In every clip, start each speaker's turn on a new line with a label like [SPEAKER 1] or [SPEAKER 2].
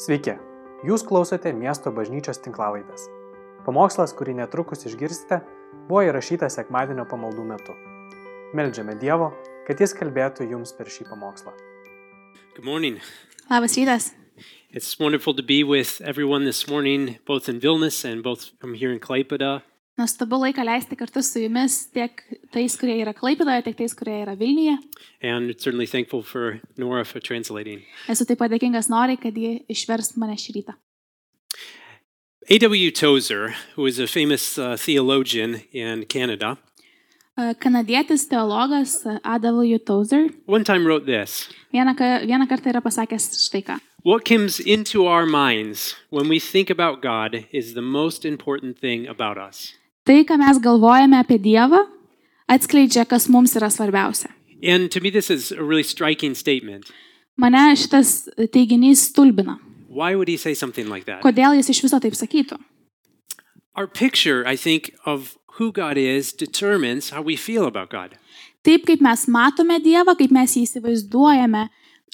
[SPEAKER 1] Sveiki, jūs klausote miesto bažnyčios tinklavaitės. Pamokslas, kurį netrukus išgirsite, buvo įrašytas sekmadienio pamaldų metu. Meldžiame Dievo, kad Jis kalbėtų jums per šį pamokslą.
[SPEAKER 2] Good morning.
[SPEAKER 3] Labas rytas.
[SPEAKER 2] It's wonderful to be with everyone this morning, both in Vilnius and both from here in Klaipeda.
[SPEAKER 3] Nustabu laiką leisti kartu su jumis tiek tais, kurie yra Klaipidoje, tiek tais, kurie yra Vilniuje.
[SPEAKER 2] And certainly thankful for Nora for translating.
[SPEAKER 3] Esu taip pat dėkingas Noriai, kad ji išvers mane šį rytą.
[SPEAKER 2] A.W. Tozer, who is a famous uh, theologian in Canada,
[SPEAKER 3] E, Kanadietis teologas e, A.W. Tozer
[SPEAKER 2] one time wrote this
[SPEAKER 3] vieną, ka- vieną kartą yra pasakęs štai ką.
[SPEAKER 2] What comes into our minds when we think about God is the most important thing about us.
[SPEAKER 3] Tai, ką mes galvojame apie Dievą, atskleidžia, kas mums yra svarbiausia.
[SPEAKER 2] And to me, this is a really striking statement.
[SPEAKER 3] Mane šitas teiginys stulbina.
[SPEAKER 2] Why would he say something like that?
[SPEAKER 3] Kodėl jis iš viso taip sakytų?
[SPEAKER 2] Our picture, I think, of who God is determines how we feel about God.
[SPEAKER 3] Taip kaip mes matome Dievą, kaip mes jį įsivaizduojame,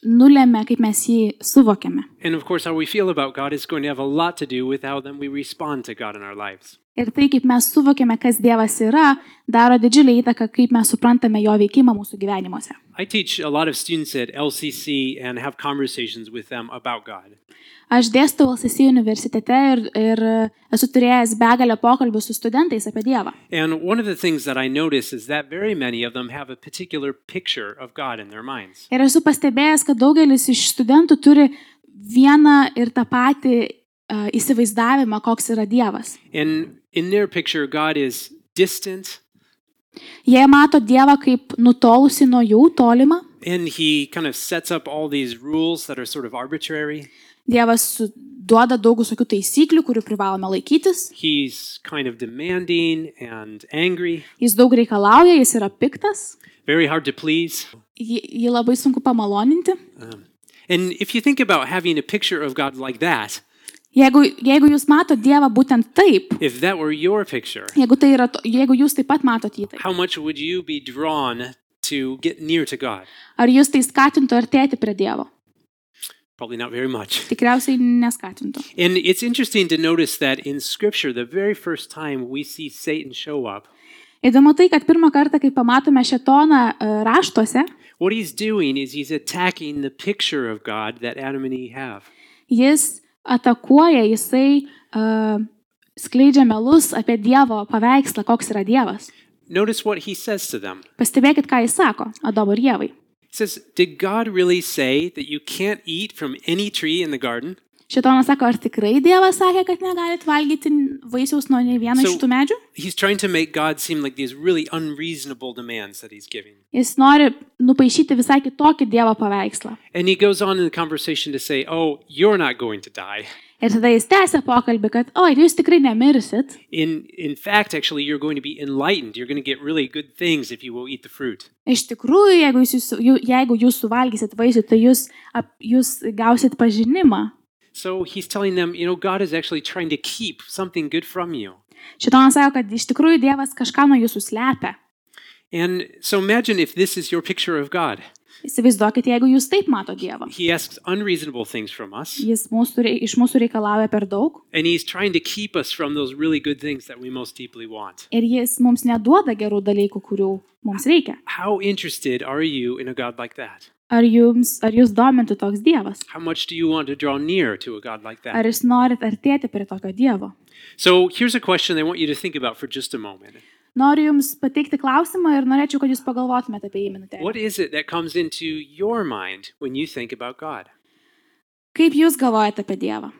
[SPEAKER 3] nulėmė, kaip mes jį suvokiame.
[SPEAKER 2] And of course, how we feel about God is going to have a lot to do with how then we respond to God in our lives.
[SPEAKER 3] Ir tai, kaip mes suvokiame, kas Dievas yra, daro didžiulį įtaką, kaip mes suprantame jo veikimą mūsų gyvenimuose.
[SPEAKER 2] I teach a lot of students at LCC and have conversations with them about God.
[SPEAKER 3] Aš dėstu LSC universitete ir, ir esu turėjęs begalę pokalbių su studentais apie Dievą.
[SPEAKER 2] And one of the things that I notice is that very many of them have a particular picture of God in their minds.
[SPEAKER 3] Ir esu pastebėjęs, kad daugelis iš studentų turi vieną ir tą patį uh, įsivaizdavimą, koks yra Dievas.
[SPEAKER 2] And in their picture, God is distant
[SPEAKER 3] Jie mato Dievą kaip nutolusi nuo jų tolimą.
[SPEAKER 2] and he kind of sets up all these rules that are sort of arbitrary.
[SPEAKER 3] Dievas su- duoda daug visokių taisyklių, kurių privalome laikytis.
[SPEAKER 2] He's kind of demanding and angry,
[SPEAKER 3] Jis daug reikalauja, jis yra piktas.
[SPEAKER 2] very hard to please.
[SPEAKER 3] jį, jį labai sunku pamaloninti.
[SPEAKER 2] Um, and if you think about having a picture of God like that,
[SPEAKER 3] Jeigu, jeigu jūs matote Dievą būtent taip,
[SPEAKER 2] if that were your picture,
[SPEAKER 3] jeigu, tai yra, to- jeigu jūs taip pat matote jį taip,
[SPEAKER 2] how much would you be drawn to get near to God?
[SPEAKER 3] ar jūs tai skatintų artėti prie Dievo?
[SPEAKER 2] Probably not very much.
[SPEAKER 3] Tikriausiai neskatintų.
[SPEAKER 2] And it's interesting to notice that in Scripture, the very first time we see Satan show up,
[SPEAKER 3] Įdomu tai, kad pirmą kartą, kai pamatome šetoną e, raštuose,
[SPEAKER 2] what he's doing is he's attacking the picture of God that Adam and Eve have.
[SPEAKER 3] jis atakuoja, jisai uh, skleidžia melus apie Dievo paveikslą, koks yra Dievas.
[SPEAKER 2] Notice what he says to them.
[SPEAKER 3] Pastebėkit, ką jis sako Adomo ir Jėvai.
[SPEAKER 2] He says, Did God really say that you can't eat from any tree in the garden?
[SPEAKER 3] Šetonas sako, ar tikrai Dievas sakė, kad negalit valgyti vaisiaus nuo nei vieno
[SPEAKER 2] So-
[SPEAKER 3] iš tų medžių?
[SPEAKER 2] He's trying to make God seem like these really unreasonable demands that he's giving.
[SPEAKER 3] Jis nori nupaišyti visai kitokį Dievo paveikslą.
[SPEAKER 2] And he goes on in the conversation to say, Oh, you're not going to die.
[SPEAKER 3] Ir tada jis tęsia pokalbį, kad, oi, jūs tikrai nemirsit.
[SPEAKER 2] In, in fact, actually, you're going to be enlightened. You're going to get really good things if you will eat the fruit.
[SPEAKER 3] Iš tikrųjų, jeigu jūs, jūs- ju- jeigu jūs suvalgysit vaisių, tai jūs, ap, jūs gausit pažinimą.
[SPEAKER 2] So he's telling them, you know, God is actually trying to keep something good from you.
[SPEAKER 3] Šitonas sako, kad iš tikrųjų Dievas kažką nuo jūsų slepia.
[SPEAKER 2] And so imagine if this is your picture of God.
[SPEAKER 3] Įsivaizduokit, jeigu jūs taip mato Dievą.
[SPEAKER 2] He asks unreasonable things from us,
[SPEAKER 3] Jis mūsų, rei- iš mūsų reikalauja per daug
[SPEAKER 2] and he's trying to keep us from those really good things that we most deeply want.
[SPEAKER 3] ir jis mums neduoda gerų dalykų, kurių mums reikia.
[SPEAKER 2] How interested are you in a God like that?
[SPEAKER 3] Ar, jums, ar jūs domintų toks Dievas?
[SPEAKER 2] How much do you want to draw near to a God like
[SPEAKER 3] Ar
[SPEAKER 2] that?
[SPEAKER 3] jūs norit artėti prie tokio Dievo?
[SPEAKER 2] So here's a question I want you to think about for just a moment.
[SPEAKER 3] Noriu Jums pateikti klausimą ir norėčiau, kad Jūs pagalvotumėte apie jį minutę.
[SPEAKER 2] What is it that comes into your mind when you think about God?
[SPEAKER 3] Kaip Jūs galvojate apie Dievą?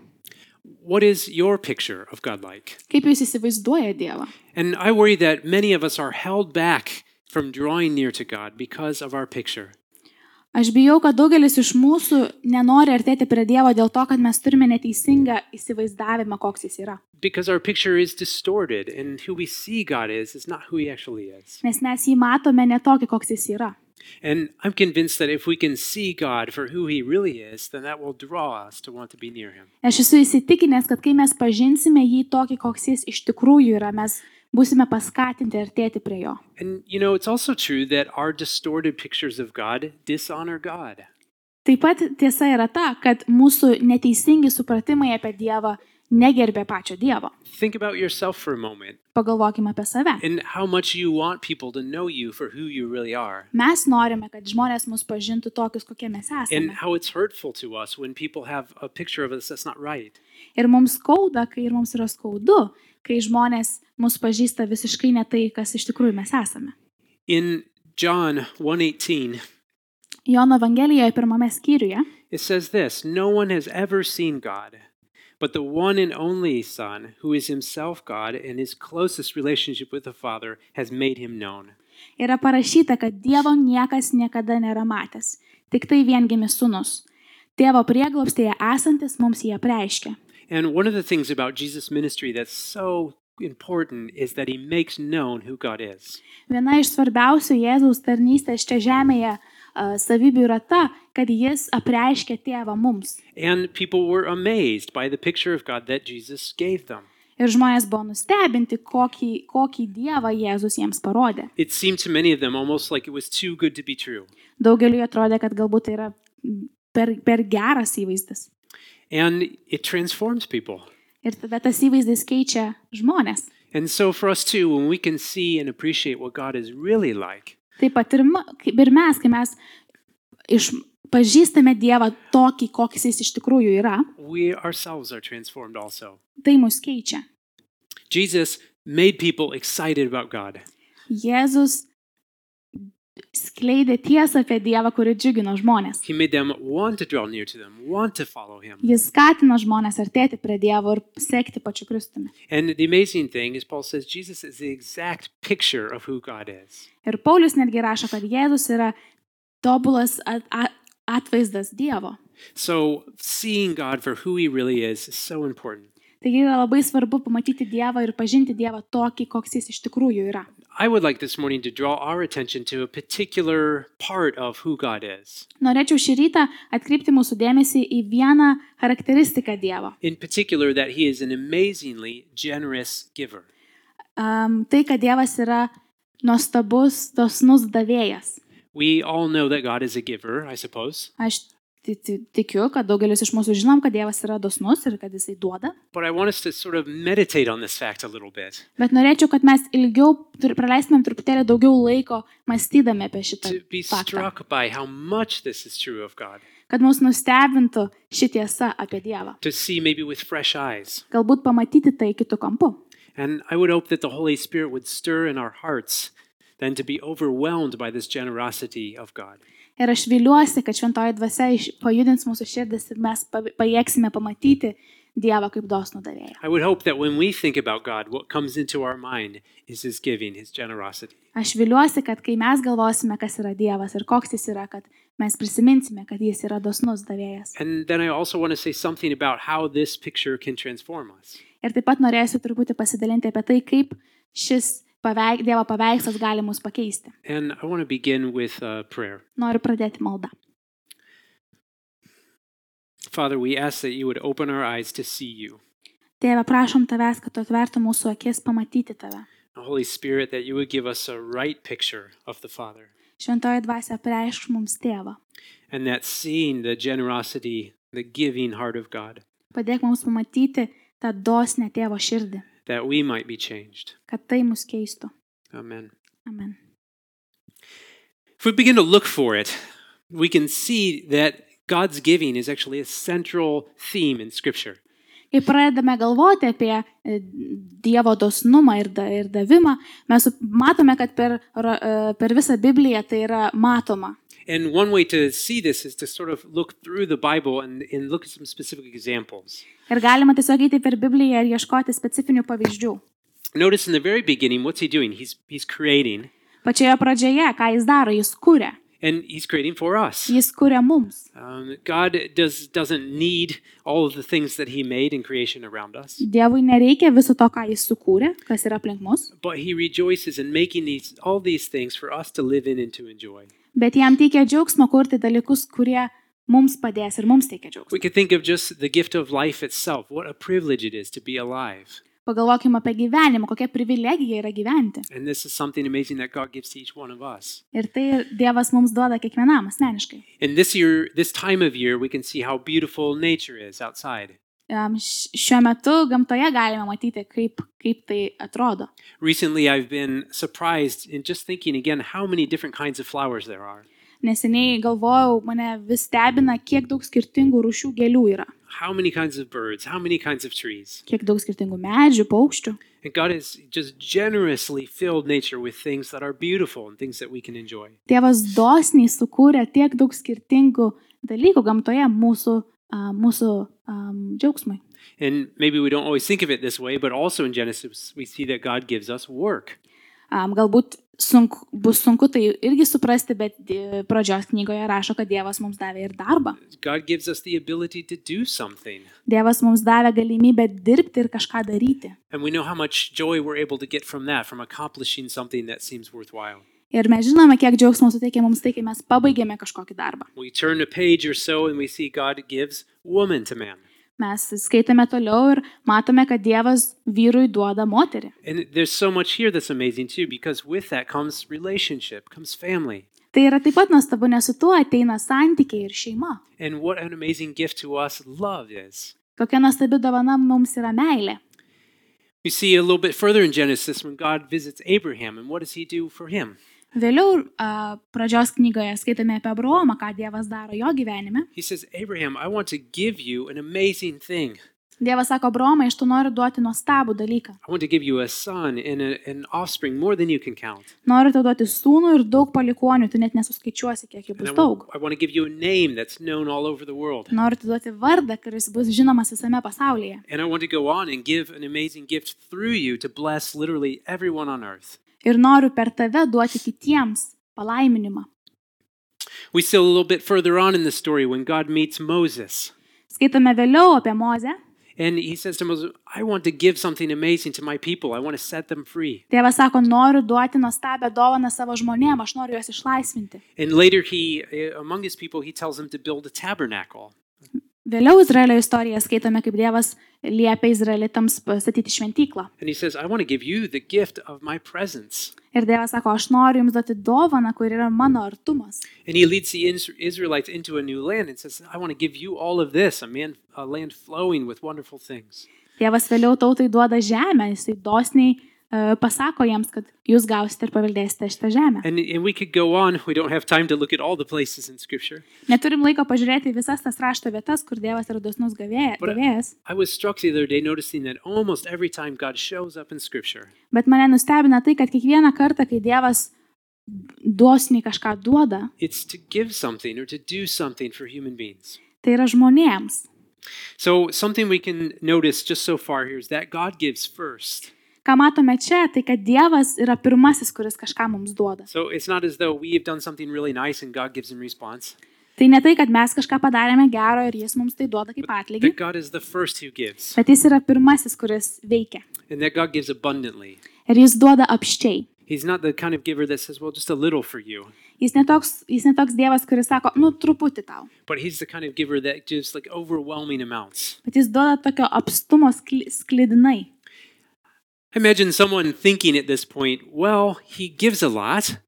[SPEAKER 2] What is your picture of God like?
[SPEAKER 3] Kaip Jūs įsivaizduojate Dievą?
[SPEAKER 2] And I worry that many of us are held back from drawing near to God because of our picture.
[SPEAKER 3] Aš bijau, kad daugelis iš mūsų nenori artėti prie Dievo dėl to, kad mes turime neteisingą įsivaizdavimą, koks Jis yra.
[SPEAKER 2] Because our picture is distorted, and who we see God is is not who He actually is.
[SPEAKER 3] Nes mes jį matome ne tokį, koks Jis yra.
[SPEAKER 2] And I'm convinced that if we can see God for who He really is, then that will draw us to want to be near Him.
[SPEAKER 3] Aš esu įsitikinęs, kad kai mes pažinsime jį tokį, koks Jis iš tikrųjų yra, mes būsime paskatinti artėti prie Jo.
[SPEAKER 2] And you know, it's also true that our distorted pictures of God dishonor God.
[SPEAKER 3] Taip pat tiesa yra ta, kad mūsų neteisingi supratimai apie Dievą negerbė pačio Dievo.
[SPEAKER 2] Think about yourself for a moment
[SPEAKER 3] Pagalvokime apie save.
[SPEAKER 2] and how much you want people to know you for who you really are.
[SPEAKER 3] Mes norime, kad žmonės mus pažintų tokius, kokie mes
[SPEAKER 2] And
[SPEAKER 3] esame.
[SPEAKER 2] how it's hurtful to us when people have a picture of us that's not right.
[SPEAKER 3] Ir mums skauda, kai ir mums yra skaudu, kai žmonės mus pažįsta visiškai ne tai, kas iš tikrųjų mes esame.
[SPEAKER 2] In John 1:18,
[SPEAKER 3] Jono Evangelijoje pirmame skyriuje
[SPEAKER 2] it says this, no one has ever seen God, but the one and only Son, who is himself God and his closest relationship with the Father has made him known.
[SPEAKER 3] yra parašyta, kad Dievo niekas niekada nėra matęs, tik tai viengimis sunus. Tėvo prieglopstėje esantis mums jie preiškia.
[SPEAKER 2] And one of the things about Jesus' ministry that's so important is that he makes known who God is.
[SPEAKER 3] Viena iš svarbiausių Jėzaus tarnystės čia žemėje a, savybių yra ta, kad jis apreiškia tėvą mums.
[SPEAKER 2] And people were amazed by the picture of God that Jesus gave them.
[SPEAKER 3] Ir žmonės buvo nustebinti, kokį, kokį dievą Jėzus jiems parodė.
[SPEAKER 2] It seemed to many of them almost like it was too good to be true.
[SPEAKER 3] Daugeliu atrodė, kad galbūt tai yra per, per geras įvaizdis.
[SPEAKER 2] And it transforms people.
[SPEAKER 3] Ir tada tas įvaizdis keičia žmonės.
[SPEAKER 2] And so for us too, when we can see and appreciate what God is really like,
[SPEAKER 3] Taip pat ir, ma- kaip ir mes, kai mes iš, pažįstame Dievą tokį, koks jis iš tikrųjų yra,
[SPEAKER 2] we ourselves are transformed also.
[SPEAKER 3] tai mus keičia.
[SPEAKER 2] Jesus made people excited about God.
[SPEAKER 3] Jėzus skleidė tiesą apie Dievą, kuri džiugino žmonės.
[SPEAKER 2] He made them want to draw near to them, want to follow him.
[SPEAKER 3] Jis skatino žmonės artėti prie Dievo ir sekti pačiu Kristumi.
[SPEAKER 2] And the amazing thing is, Paul says Jesus is the exact picture of who God is.
[SPEAKER 3] Ir Paulius netgi rašo, kad Jėzus yra tobulas at, at, atvaizdas Dievo.
[SPEAKER 2] So seeing God for who he really is is so important.
[SPEAKER 3] Taigi yra labai svarbu pamatyti Dievą ir pažinti Dievą tokį, koks jis iš tikrųjų yra.
[SPEAKER 2] I would like this morning to draw our attention to a particular part of who God is.
[SPEAKER 3] Norėčiau šį rytą atkreipti mūsų dėmesį į vieną charakteristiką Dievo.
[SPEAKER 2] In particular, that he is an amazingly generous giver.
[SPEAKER 3] Um, tai, kad Dievas yra nuostabus, dosnus davėjas.
[SPEAKER 2] We all know that God is a giver, I suppose,
[SPEAKER 3] Aš ti- ti- tikiu, kad daugelis iš mūsų žinom, kad Dievas yra dosnus ir kad jisai duoda.
[SPEAKER 2] but I want us to sort of meditate on this fact a little bit,
[SPEAKER 3] Bet norėčiau, kad mes ilgiau tur- praleistumėm truputėlį daugiau laiko mąstydami apie šitą
[SPEAKER 2] to be
[SPEAKER 3] faktą.
[SPEAKER 2] struck by how much this is true of God,
[SPEAKER 3] Kad mus nustebintų ši tiesa apie Dievą.
[SPEAKER 2] to see maybe with fresh eyes.
[SPEAKER 3] Galbūt pamatyti tai kitų kampų.
[SPEAKER 2] And I would hope that the Holy Spirit would stir in our hearts then to be overwhelmed by this generosity of God.
[SPEAKER 3] Ir aš viliuosi, kad šventoji dvasia iš- pajudins mūsų širdis ir mes pa- pajėgsime pamatyti Dievą kaip dosnų davėją.
[SPEAKER 2] I would hope that when we think about God, what comes into our mind is His giving, His generosity.
[SPEAKER 3] Aš viliuosi, kad kai mes galvosime, kas yra Dievas ir koks jis yra, kad mes prisiminsime, kad jis yra dosnus davėjas.
[SPEAKER 2] And then I also want to say something about how this picture can transform us.
[SPEAKER 3] Ir taip pat norėsiu truputį pasidalinti apie tai, kaip šis paveik, Dievo paveikslas gali mus pakeisti.
[SPEAKER 2] And I want to begin with uh, prayer.
[SPEAKER 3] Noriu pradėti maldą.
[SPEAKER 2] Father, we ask that you would open our eyes to see you.
[SPEAKER 3] Tėve, prašom tavęs, kad tu atvertum mūsų akis pamatyti tave.
[SPEAKER 2] Holy Spirit, that you would give us a right picture of the Father.
[SPEAKER 3] Šventoji dvasia prieš mums tėvą.
[SPEAKER 2] And that seeing the generosity, the giving heart of God,
[SPEAKER 3] Padėk mums pamatyti tą dosnę tėvo širdį,
[SPEAKER 2] that we might be changed.
[SPEAKER 3] kad tai mus keistų.
[SPEAKER 2] Amen.
[SPEAKER 3] Amen.
[SPEAKER 2] If we begin to look for it, we can see that God's giving is actually a central theme in Scripture.
[SPEAKER 3] Kai pradedame galvoti apie e, Dievo dosnumą ir, da, ir davimą, mes sup- matome, kad per, ra- e, per visą Bibliją tai yra matoma.
[SPEAKER 2] And one way to see this is to sort of look through the Bible and, and look at some specific examples.
[SPEAKER 3] Ir galima tiesiog eiti per Bibliją ir ieškoti specifinių pavyzdžių.
[SPEAKER 2] Notice in the very beginning, what's he doing? He's, he's creating,
[SPEAKER 3] Pačioje pradžioje, ką jis daro, jis kuria.
[SPEAKER 2] and he's creating for us.
[SPEAKER 3] Jis kuria mums.
[SPEAKER 2] Um, God does, doesn't need all of the things that he made in creation around us,
[SPEAKER 3] Dievui nereikia viso to, ką jis sukūrė, kas yra aplink mus,
[SPEAKER 2] but he rejoices in making these, all these things for us to live in and to enjoy.
[SPEAKER 3] bet jam teikia džiaugsmo kurti dalykus, kurie mums padės ir mums teikia džiaugsmo.
[SPEAKER 2] We could think of just the gift of life itself. What a privilege it is to be alive.
[SPEAKER 3] Pagalvokime apie gyvenimą, kokia privilegija yra gyventi.
[SPEAKER 2] And this is something amazing that God gives to each one of us.
[SPEAKER 3] Ir tai Dievas mums duoda kiekvienam asmeniškai.
[SPEAKER 2] And this year, this time of year, we can see how beautiful nature is outside.
[SPEAKER 3] Em, š- Šiuo metu gamtoje galime matyti, kaip, kaip tai atrodo.
[SPEAKER 2] Recently, I've been surprised in just thinking again how many different kinds of flowers there are,
[SPEAKER 3] Neseniai galvojau, mane vis stebina, kiek daug skirtingų rūšių gėlių yra,
[SPEAKER 2] how many kinds of birds, how many kinds of trees.
[SPEAKER 3] kiek daug skirtingų medžių, paukščių.
[SPEAKER 2] And God has just generously filled nature with things that are beautiful and things that we can enjoy.
[SPEAKER 3] Tėvas dosniai sukūrė tiek daug skirtingų dalykų gamtoje mūsų, a, mūsų am, džiaugsmui.
[SPEAKER 2] And maybe we don't always think of it this way, but also in Genesis, we see that God gives us work.
[SPEAKER 3] Am, Galbūt sunku, bus sunku tai irgi suprasti, bet e, pradžios knygoje rašo, kad Dievas mums davė ir darbą.
[SPEAKER 2] God gives us the ability to do something.
[SPEAKER 3] Dievas mums davė galimybę dirbti ir kažką daryti.
[SPEAKER 2] And we know how much joy we're able to get from that, from accomplishing something that seems worthwhile.
[SPEAKER 3] Ir mes žinome, kiek džiaugsmo suteikia mums tai, kai mes pabaigėme kažkokį darbą.
[SPEAKER 2] We turn a page or so and we see God gives woman to man.
[SPEAKER 3] Mes skaitome toliau ir matome, kad Dievas vyrui duoda moterį.
[SPEAKER 2] And there's so much here that's amazing too, because with that comes relationship, comes family.
[SPEAKER 3] Tai yra taip pat nuostabu, nes su tuo ateina santykiai ir šeima.
[SPEAKER 2] And what an amazing gift to us love is.
[SPEAKER 3] Kokia nuostabi dovana mums yra meilė.
[SPEAKER 2] We see a little bit further in Genesis when God visits Abraham, and what does he do for him?
[SPEAKER 3] Vėliau a, pradžios knygoje skaitome apie Abraomą, ką Dievas daro jo gyvenime.
[SPEAKER 2] He says, Abraham, I want to give you an amazing thing.
[SPEAKER 3] Dievas sako, Abraomai, aš tu noriu duoti nuostabų dalyką.
[SPEAKER 2] I want to give you a son and a, an offspring more than you can count.
[SPEAKER 3] Noriu tau duoti sūnų ir daug palikonių, tu net nesuskaičiuosi, kiek jų
[SPEAKER 2] And I
[SPEAKER 3] bus
[SPEAKER 2] want,
[SPEAKER 3] daug.
[SPEAKER 2] I want to give you a name that's known all over the world.
[SPEAKER 3] Noriu tau duoti vardą, kuris bus žinomas visame pasaulyje.
[SPEAKER 2] And I want to go on and give an amazing gift through you to bless literally everyone on earth.
[SPEAKER 3] Ir noriu per tave duoti kitiems palaiminimą.
[SPEAKER 2] We still a little bit further on in the story when God meets Moses.
[SPEAKER 3] Skaitome vėliau apie Mozę.
[SPEAKER 2] And he says to Moses, I want to give something amazing to my people. I want to set them free.
[SPEAKER 3] Tėvas sako, noriu duoti nuostabią dovaną savo žmonėm, aš noriu juos išlaisvinti.
[SPEAKER 2] And later, he, eh, among his people, he tells them to build a tabernacle.
[SPEAKER 3] Vėliau Izraelio istoriją skaitome, kaip Dievas liepia izraelitams pastatyti šventyklą.
[SPEAKER 2] And he says, I want to give you the gift of my presence.
[SPEAKER 3] Ir Dievas sako, aš noriu jums duoti dovaną, kur yra mano artumas.
[SPEAKER 2] And he leads the Is- Israelites into a new land and says, I want to give you all of this, a, man, a land flowing with wonderful things.
[SPEAKER 3] Dievas vėliau tautai duoda žemę, jisai dosniai e, pasako jiems, kad jūs gausite ir paveldėsite šitą žemę.
[SPEAKER 2] And, and we could go on. We don't have time to look at all the places in Scripture.
[SPEAKER 3] Neturim laiko pažiūrėti į visas tas rašto vietas, kur Dievas yra dosnus gavėja-
[SPEAKER 2] But-
[SPEAKER 3] gavėjas,
[SPEAKER 2] I was struck the other day noticing that almost every time God shows up in Scripture,
[SPEAKER 3] bet mane nustebina tai, kad kiekvieną kartą, kai Dievas dosniai kažką duoda,
[SPEAKER 2] it's to give something or to do something for human beings.
[SPEAKER 3] tai yra žmonėms.
[SPEAKER 2] So, something we can notice just so far here is that God gives first.
[SPEAKER 3] Ką matome čia, tai kad Dievas yra pirmasis, kuris kažką mums duoda.
[SPEAKER 2] So, it's not as though we have done something really nice and God gives in response,
[SPEAKER 3] Tai ne tai, kad mes kažką padarėme gero ir jis mums tai duoda kaip atlygį,
[SPEAKER 2] that God is the first who gives,
[SPEAKER 3] bet jis yra pirmasis, kuris veikia.
[SPEAKER 2] and that God gives abundantly.
[SPEAKER 3] Ir jis duoda apščiai.
[SPEAKER 2] He's not the kind of giver that says, well, just a little for you,
[SPEAKER 3] Jis netoks, jis netoks Dievas, kuris sako, nu truputį tau.
[SPEAKER 2] but He's the kind of giver that gives like overwhelming amounts.
[SPEAKER 3] Bet jis duoda tokio apstumo skli, sklidinai.
[SPEAKER 2] I imagine someone thinking at this point, well, He gives a lot,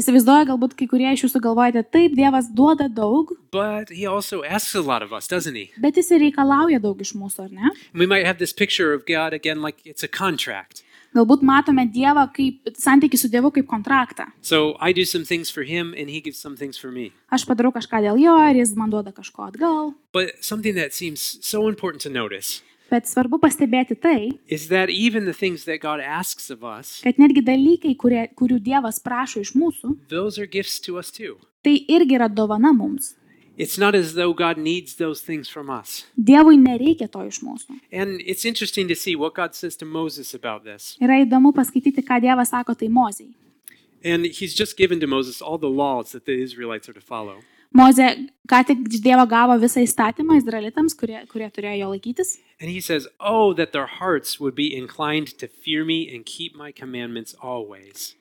[SPEAKER 3] Įsivaizduoju, galbūt kai kurie iš jūsų galvojate, taip, Dievas duoda daug,
[SPEAKER 2] but He also asks a lot of us, doesn't He?
[SPEAKER 3] bet jis ir reikalauja daug iš mūsų, ar ne?
[SPEAKER 2] And we might have this picture of God again like it's a contract.
[SPEAKER 3] Galbūt matome Dievą kaip santykių su Dievu kaip kontraktą.
[SPEAKER 2] So I do some things for him and he gives some things for me.
[SPEAKER 3] Aš padarau kažką dėl jo ir jis man duoda kažko atgal.
[SPEAKER 2] But something that seems so important to notice
[SPEAKER 3] Bet svarbu pastebėti tai,
[SPEAKER 2] is that even the things that God asks of us,
[SPEAKER 3] kad netgi dalykai, kurie, kurių Dievas prašo iš mūsų,
[SPEAKER 2] those are gifts to us too.
[SPEAKER 3] tai irgi yra dovana mums.
[SPEAKER 2] It's not as though God needs those things from us.
[SPEAKER 3] Dievui nereikia to iš mūsų.
[SPEAKER 2] And it's interesting to see what God says to Moses about this.
[SPEAKER 3] Yra įdomu paskaityti, ką Dievas sako tai Mozijai.
[SPEAKER 2] And he's just given to Moses all the laws that the Israelites are to follow.
[SPEAKER 3] Mozė ką tik iš Dievo gavo visą įstatymą izraelitams, kurie, kurie turėjo jo laikytis.
[SPEAKER 2] And he says, Oh, that their hearts would be inclined to fear me and keep my commandments always.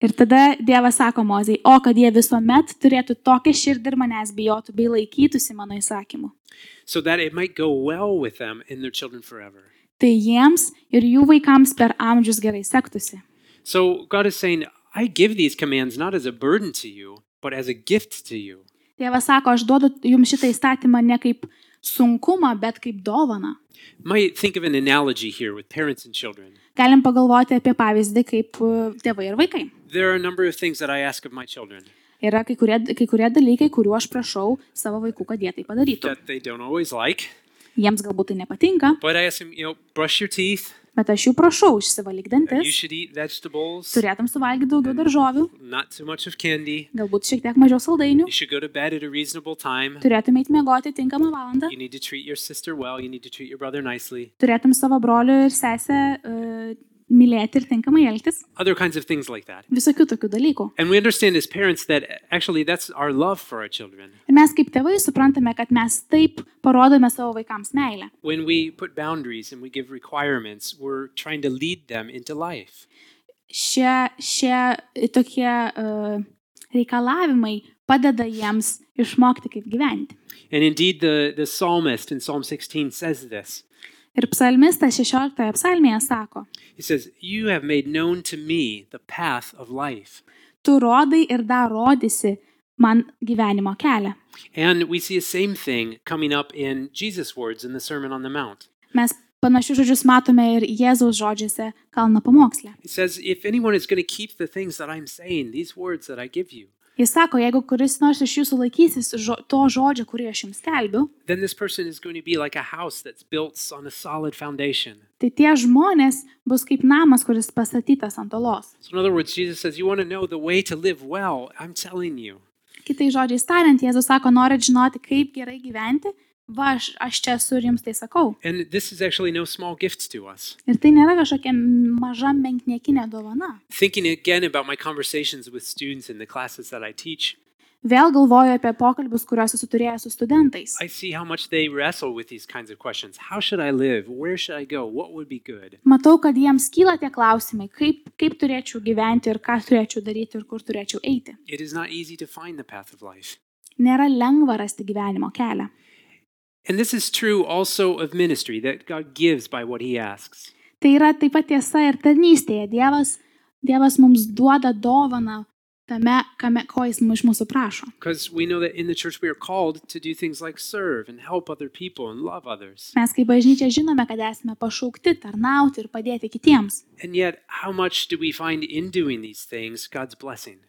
[SPEAKER 3] Ir tada Dievas sako Mozijai, o kad jie visuomet turėtų tokią širdį ir manęs bijotų bei laikytųsi mano įsakymų,
[SPEAKER 2] so that it might go well with them and their children forever.
[SPEAKER 3] tai jiems ir jų vaikams per amžius gerai sektųsi.
[SPEAKER 2] So God is saying, I give these commands not as a burden to you, but as a gift to you.
[SPEAKER 3] Tėvas sako, aš duodu jums šitą įstatymą ne kaip sunkumą, bet kaip dovaną.
[SPEAKER 2] Might think of an analogy here with parents and children.
[SPEAKER 3] Galim pagalvoti apie pavyzdį kaip e, tėvai ir vaikai.
[SPEAKER 2] There are a number of things that I ask of my children
[SPEAKER 3] Yra kai kurie, kai kurie dalykai, kuriuo aš prašau savo vaikų, kad jie tai padarytų.
[SPEAKER 2] that they don't always like,
[SPEAKER 3] Jiems galbūt tai nepatinka,
[SPEAKER 2] but I ask them, you know, brush your teeth,
[SPEAKER 3] bet aš jų prašau išsivalyk
[SPEAKER 2] and you
[SPEAKER 3] dantis,
[SPEAKER 2] should eat vegetables,
[SPEAKER 3] turėtum suvalgyti daugiau daržovių,
[SPEAKER 2] not too much of candy,
[SPEAKER 3] galbūt šiek tiek mažiau saldainių,
[SPEAKER 2] you should go to bed at a reasonable time,
[SPEAKER 3] turėtum eiti miegoti tinkamą valandą,
[SPEAKER 2] you need to treat your sister well, you need to treat your brother nicely,
[SPEAKER 3] turėtum savo brolių ir sesę uh, mylėti ir tinkamai elgtis,
[SPEAKER 2] other kinds of things like that.
[SPEAKER 3] visokių tokių dalykų.
[SPEAKER 2] And we understand as parents that actually that's our love for our children.
[SPEAKER 3] Ir mes kaip tėvai suprantame, kad mes taip parodome savo vaikams meilę.
[SPEAKER 2] When we put boundaries and we give requirements, we're trying to lead them into life.
[SPEAKER 3] Šie, šie e, tokie uh, reikalavimai padeda jiems išmokti, kaip gyventi.
[SPEAKER 2] And indeed, the, the psalmist in Psalm 16 says this
[SPEAKER 3] Ir psalmistas 16 psalmėje sako,
[SPEAKER 2] He says, You have made known to me the path of life.
[SPEAKER 3] tu rodai ir dar rodysi man gyvenimo kelią.
[SPEAKER 2] And we see the same thing coming up in Jesus' words in the Sermon on the Mount.
[SPEAKER 3] Mes panašius žodžius matome ir Jėzaus žodžiuose kalno pamoksle.
[SPEAKER 2] He says, If anyone is going to keep the things that I'm saying, these words that I give you,
[SPEAKER 3] Jis sako, jeigu kuris nors iš jūsų laikysis žo to žodžio, kurį aš jums skelbiu,
[SPEAKER 2] then this person is going to be like a house that's built on a solid foundation.
[SPEAKER 3] tai tie žmonės bus kaip namas, kuris pastatytas ant olos.
[SPEAKER 2] So, in other words, Jesus says, You want to know the way to live well? I'm telling you.
[SPEAKER 3] Kitai žodžiai tariant, Jėzus sako, norit žinoti, kaip gerai gyventi, va, aš, aš čia esu ir jums tai sakau.
[SPEAKER 2] And this is actually no small gift to us.
[SPEAKER 3] Ir tai nėra kažkokia maža menkniekinė dovana.
[SPEAKER 2] Thinking again about my conversations with students in the classes that I teach,
[SPEAKER 3] Vėl galvoju apie pokalbius, kuriuos esu turėjęs su studentais.
[SPEAKER 2] I see how much they wrestle with these kinds of questions. How should I live? Where should I go? What would be good?
[SPEAKER 3] Matau, kad jiems kyla tie klausimai, kaip, kaip turėčiau gyventi ir ką turėčiau daryti ir kur turėčiau eiti.
[SPEAKER 2] It is not easy to find the path of life.
[SPEAKER 3] Nėra lengva rasti gyvenimo kelią.
[SPEAKER 2] And this is true also of ministry that God gives by what he asks.
[SPEAKER 3] Tai yra taip pat tiesa ir tarnystėje. Dievas, Dievas mums duoda dovaną tame, kame, ko jis mu- iš mūsų prašo.
[SPEAKER 2] Because we know that in the church we are called to do things like serve and help other people and love others.
[SPEAKER 3] Mes kaip bažnyčia žinome, kad esame pašaukti tarnauti ir padėti kitiems.
[SPEAKER 2] And yet, how much do we find in doing these things God's blessing?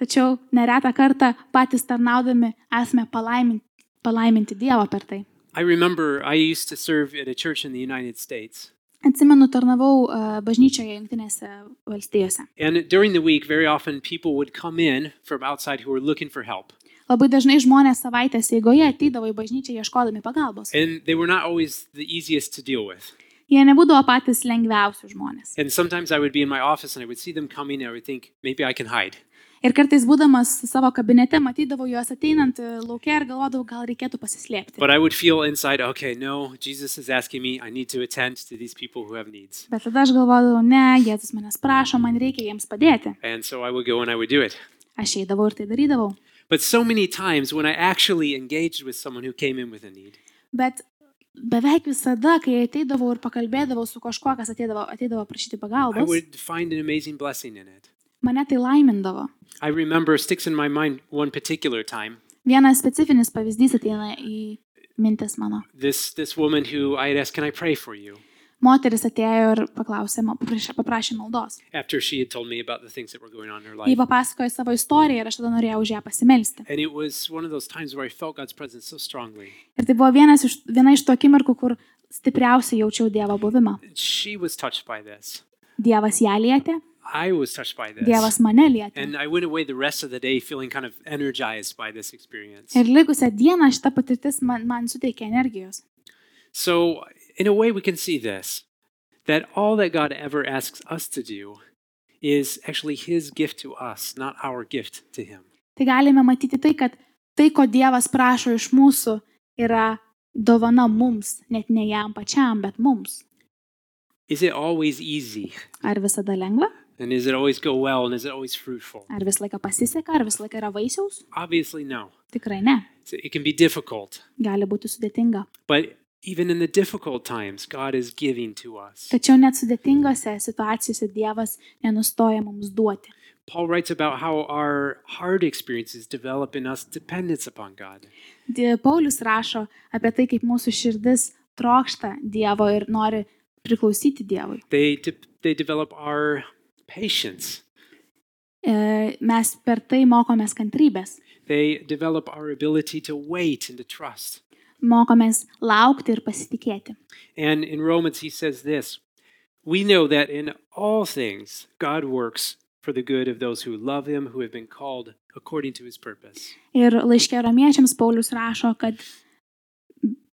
[SPEAKER 3] Tačiau neretą kartą patys tarnaudami esame palaiminti, palaiminti Dievą per tai.
[SPEAKER 2] I remember I used to serve at a church in the United States.
[SPEAKER 3] Atsimenu, tarnavau e, bažnyčioje Junktinėse valstijose.
[SPEAKER 2] And during the week, very often people would come in from outside who were looking for help.
[SPEAKER 3] Labai dažnai žmonės savaitės eigoje ateidavo į bažnyčią ieškodami pagalbos.
[SPEAKER 2] And they were not always the easiest to deal with.
[SPEAKER 3] Jie nebūdavo patys lengviausi žmonės.
[SPEAKER 2] And sometimes I would be in my office and I would see them coming and I would think, maybe I can hide.
[SPEAKER 3] Ir kartais būdamas savo kabinete matydavau juos ateinant e, laukia ir galvodavau, gal reikėtų pasislėpti.
[SPEAKER 2] But I would feel inside, okay, no, Jesus is asking me, I need to attend to these people who have needs.
[SPEAKER 3] Bet tada aš galvodavau, ne, Jėzus manęs prašo, man reikia jiems padėti.
[SPEAKER 2] And so I would go and I would do it.
[SPEAKER 3] Aš eidavau ir tai darydavau.
[SPEAKER 2] But so many times when I actually engaged with someone who came in with a need,
[SPEAKER 3] Bet beveik visada, kai ateidavau ir pakalbėdavau su kažkuo, kas ateidavo, ateidavo prašyti
[SPEAKER 2] I
[SPEAKER 3] pagalbos,
[SPEAKER 2] would find an amazing blessing in it.
[SPEAKER 3] mane tai laimindavo.
[SPEAKER 2] I remember, sticks in my mind one particular time,
[SPEAKER 3] Vienas specifinis pavyzdys ateina į mintis mano.
[SPEAKER 2] this, this woman who I had asked, Can I pray for you?
[SPEAKER 3] Moteris atėjo ir paklausė, ma- paprašė, paprašė maldos.
[SPEAKER 2] After she had told me about the things that were going on in her
[SPEAKER 3] Ji
[SPEAKER 2] life.
[SPEAKER 3] papasakojo savo istoriją ir aš tada norėjau už ją pasimelsti.
[SPEAKER 2] And it was one of those times where I felt God's presence so strongly.
[SPEAKER 3] Ir tai buvo vienas iš, viena iš to akimirkų, kur stipriausiai jaučiau Dievo buvimą.
[SPEAKER 2] She was touched by this.
[SPEAKER 3] Dievas ją lietė,
[SPEAKER 2] I was touched by this.
[SPEAKER 3] Dievas mane lietė.
[SPEAKER 2] And I went away the rest of the day feeling kind of energized by this experience.
[SPEAKER 3] Ir likusią dieną šita patirtis man, man suteikė energijos.
[SPEAKER 2] So, in a way, we can see this that all that God ever asks us to do is actually His gift to us, not our gift to Him.
[SPEAKER 3] Tai galime matyti tai, kad tai, ko Dievas prašo iš mūsų, yra dovana mums, net ne jam pačiam, bet mums.
[SPEAKER 2] Is it always easy?
[SPEAKER 3] Ar visada lengva,
[SPEAKER 2] And does it always go well? And is it always fruitful?
[SPEAKER 3] ar visą laiką pasiseka, ar visą laiką yra vaisiaus?
[SPEAKER 2] Obviously, no.
[SPEAKER 3] Tikrai ne.
[SPEAKER 2] So It can be difficult,
[SPEAKER 3] Gali būti sudėtinga.
[SPEAKER 2] but Even in the difficult times, God is giving to us.
[SPEAKER 3] Tačiau net sudėtingose situacijose Dievas nenustoja mums duoti.
[SPEAKER 2] Paul writes about how our hard experiences develop in us dependence upon God.
[SPEAKER 3] Di- Paulius rašo apie tai, kaip mūsų širdis trokšta Dievo ir nori priklausyti Dievui.
[SPEAKER 2] They, de- they develop our patience,
[SPEAKER 3] E, Mes per tai mokomės kantrybės,
[SPEAKER 2] they develop our ability to wait and to trust.
[SPEAKER 3] mokomės laukti ir pasitikėti.
[SPEAKER 2] And in Romans, he says this We know that in all things God works for the good of those who love him, who have been called according to his purpose.
[SPEAKER 3] Ir laiškė romiečiams Paulius rašo, kad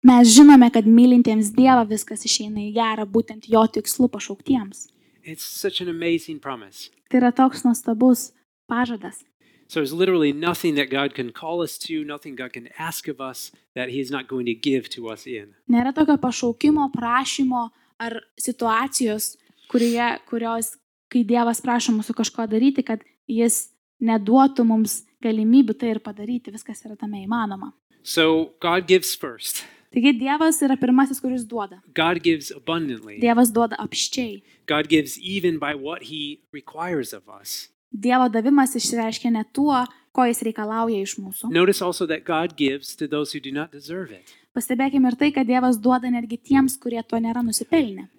[SPEAKER 3] mes žinome, kad mylintiems Dievą viskas išeina į gerą, būtent jo tikslu pašauktiems.
[SPEAKER 2] It's such an amazing promise.
[SPEAKER 3] Tai yra toks nuostabus pažadas.
[SPEAKER 2] So there's literally nothing that God can call us to, nothing God can ask of us that he is not going to give to us in.
[SPEAKER 3] Nėra tokio pašaukimo, prašymo ar situacijos, kurioje, kurios, kai Dievas prašo mūsų kažko daryti, kad jis neduotų mums galimybių tai ir padaryti, viskas yra tame įmanoma.
[SPEAKER 2] So God gives first.
[SPEAKER 3] Taigi Dievas yra pirmasis, kuris duoda.
[SPEAKER 2] God gives abundantly.
[SPEAKER 3] Dievas duoda apščiai.
[SPEAKER 2] God gives even by what he requires of us.
[SPEAKER 3] Dievo davimas išreiškia ne tuo, ko jis reikalauja iš mūsų.
[SPEAKER 2] Notice also that God gives to those who do not deserve it.
[SPEAKER 3] Pastebėkime ir tai, kad Dievas duoda netgi tiems, kurie to nėra nusipelnę.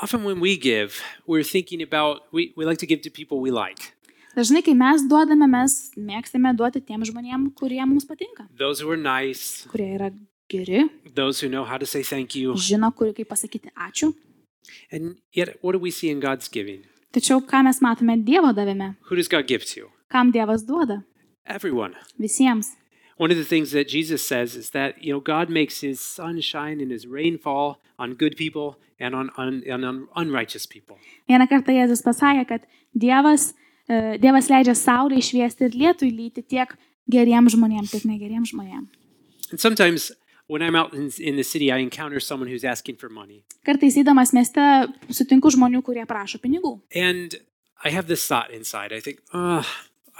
[SPEAKER 2] Often when we give, we're thinking about, we, we like to give to people we like,
[SPEAKER 3] Dažnai, kai mes duodame, mes mėgstame duoti tiem žmonėm, kurie mums patinka,
[SPEAKER 2] those who are nice,
[SPEAKER 3] kurie yra geri,
[SPEAKER 2] those who know how to say thank you.
[SPEAKER 3] žino, kur kaip pasakyti ačiū.
[SPEAKER 2] And yet, what do we see in God's giving?
[SPEAKER 3] Tačiau ką mes matome Dievo davime?
[SPEAKER 2] Who does God give to?
[SPEAKER 3] Kam Dievas duoda?
[SPEAKER 2] Everyone.
[SPEAKER 3] Visiems.
[SPEAKER 2] One of the things that Jesus says is that, you know, God makes his sunshine and his rainfall on good people and on, on, and on unrighteous people.
[SPEAKER 3] Vieną kartą Jėzus pasakė, kad Dievas, e, dievas leidžia saulė išviesti ir lietui lyti tiek geriems žmonėms, tiek negeriems žmonėms.
[SPEAKER 2] And sometimes when I'm out in, in the city, I encounter someone who's asking for money.
[SPEAKER 3] Kartais įdamas mieste sutinku žmonių, kurie prašo pinigų.
[SPEAKER 2] And I have this thought inside. I think, oh,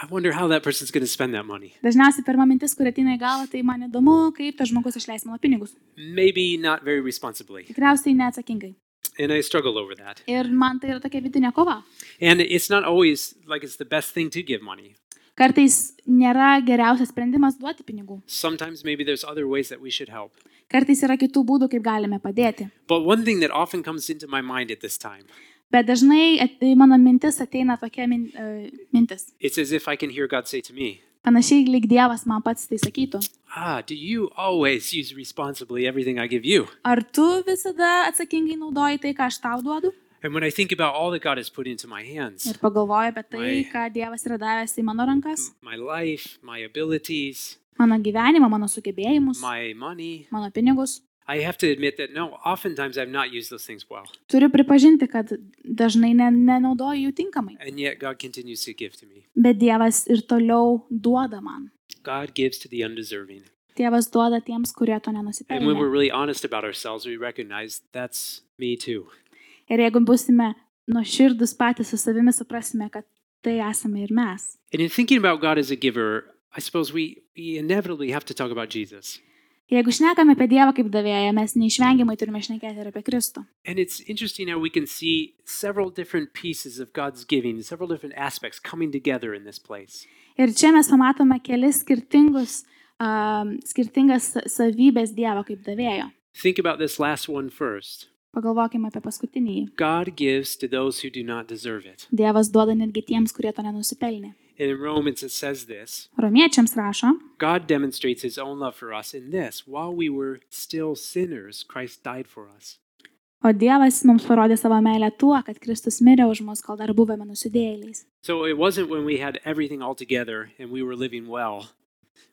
[SPEAKER 2] I wonder how that person's going to spend that money.
[SPEAKER 3] Dažniausiai pirma mintis, kuri ateina į galvą, tai man įdomu, kaip tas žmogus išleis mano pinigus.
[SPEAKER 2] Maybe not very responsibly.
[SPEAKER 3] Tikriausiai neatsakingai.
[SPEAKER 2] And I struggle over that.
[SPEAKER 3] Ir man tai yra tokia vidinė kova.
[SPEAKER 2] And it's not always like it's the best thing to give money.
[SPEAKER 3] Kartais nėra geriausias sprendimas duoti pinigų.
[SPEAKER 2] Sometimes maybe there's other ways that we should help.
[SPEAKER 3] Kartais yra kitų būdų, kaip galime padėti.
[SPEAKER 2] But one thing that often comes into my mind at this time,
[SPEAKER 3] Bet dažnai at- į mano mintis ateina tokia min, uh, mintis.
[SPEAKER 2] it's as if I can hear God say to me,
[SPEAKER 3] Panašiai, lyg Dievas man pats tai sakytų.
[SPEAKER 2] Ah, do you always use responsibly everything I give you?
[SPEAKER 3] Ar tu visada atsakingai naudoji tai, ką aš tau duodu?
[SPEAKER 2] And when I think about all that God has put into my hands,
[SPEAKER 3] Ir pagalvoju apie tai,
[SPEAKER 2] Oi.
[SPEAKER 3] ką Dievas yra davęs į mano rankas,
[SPEAKER 2] my life, my abilities,
[SPEAKER 3] mano gyvenimą, mano sugebėjimus,
[SPEAKER 2] my money,
[SPEAKER 3] mano pinigus.
[SPEAKER 2] I have to admit that no, oftentimes I've not used those things well.
[SPEAKER 3] Turiu pripažinti, kad dažnai ne, nenaudoju jų tinkamai.
[SPEAKER 2] And yet God continues to give to me.
[SPEAKER 3] Bet Dievas ir toliau duoda man.
[SPEAKER 2] God gives to the undeserving.
[SPEAKER 3] Dievas duoda tiems, kurie to
[SPEAKER 2] And when we're
[SPEAKER 3] nenusipelnė.
[SPEAKER 2] really honest about ourselves, we recognize that's me too.
[SPEAKER 3] Ir jeigu busime nuoširdus patys su savimi, suprasime, kad tai esame ir mes.
[SPEAKER 2] And in thinking about God as a giver, I suppose we, we inevitably have to talk about Jesus.
[SPEAKER 3] Jeigu šnekame apie Dievą kaip davėją, mes neišvengiamai turime šnekėti ir apie Kristų.
[SPEAKER 2] And it's interesting how we can see several different pieces of God's giving, several different aspects coming together in this place.
[SPEAKER 3] Ir čia mes pamatome kelis skirtingus, um, skirtingas sa- savybės Dievo kaip davėjo.
[SPEAKER 2] Think about this last one first.
[SPEAKER 3] Pagalvokime apie paskutinį.
[SPEAKER 2] God gives to those who do not deserve it.
[SPEAKER 3] Dievas duoda netgi tiems, kurie to nenusipelnė.
[SPEAKER 2] And in Romans, it says this
[SPEAKER 3] Romiečiams rašo,
[SPEAKER 2] God demonstrates his own love for us in this while we were still sinners, Christ died for us.
[SPEAKER 3] o Dievas mums parodė savo meilę tuo, kad Kristus mirė už mus, kol dar buvome nusidėjėliais.
[SPEAKER 2] So it wasn't when we had everything all together and we were living well,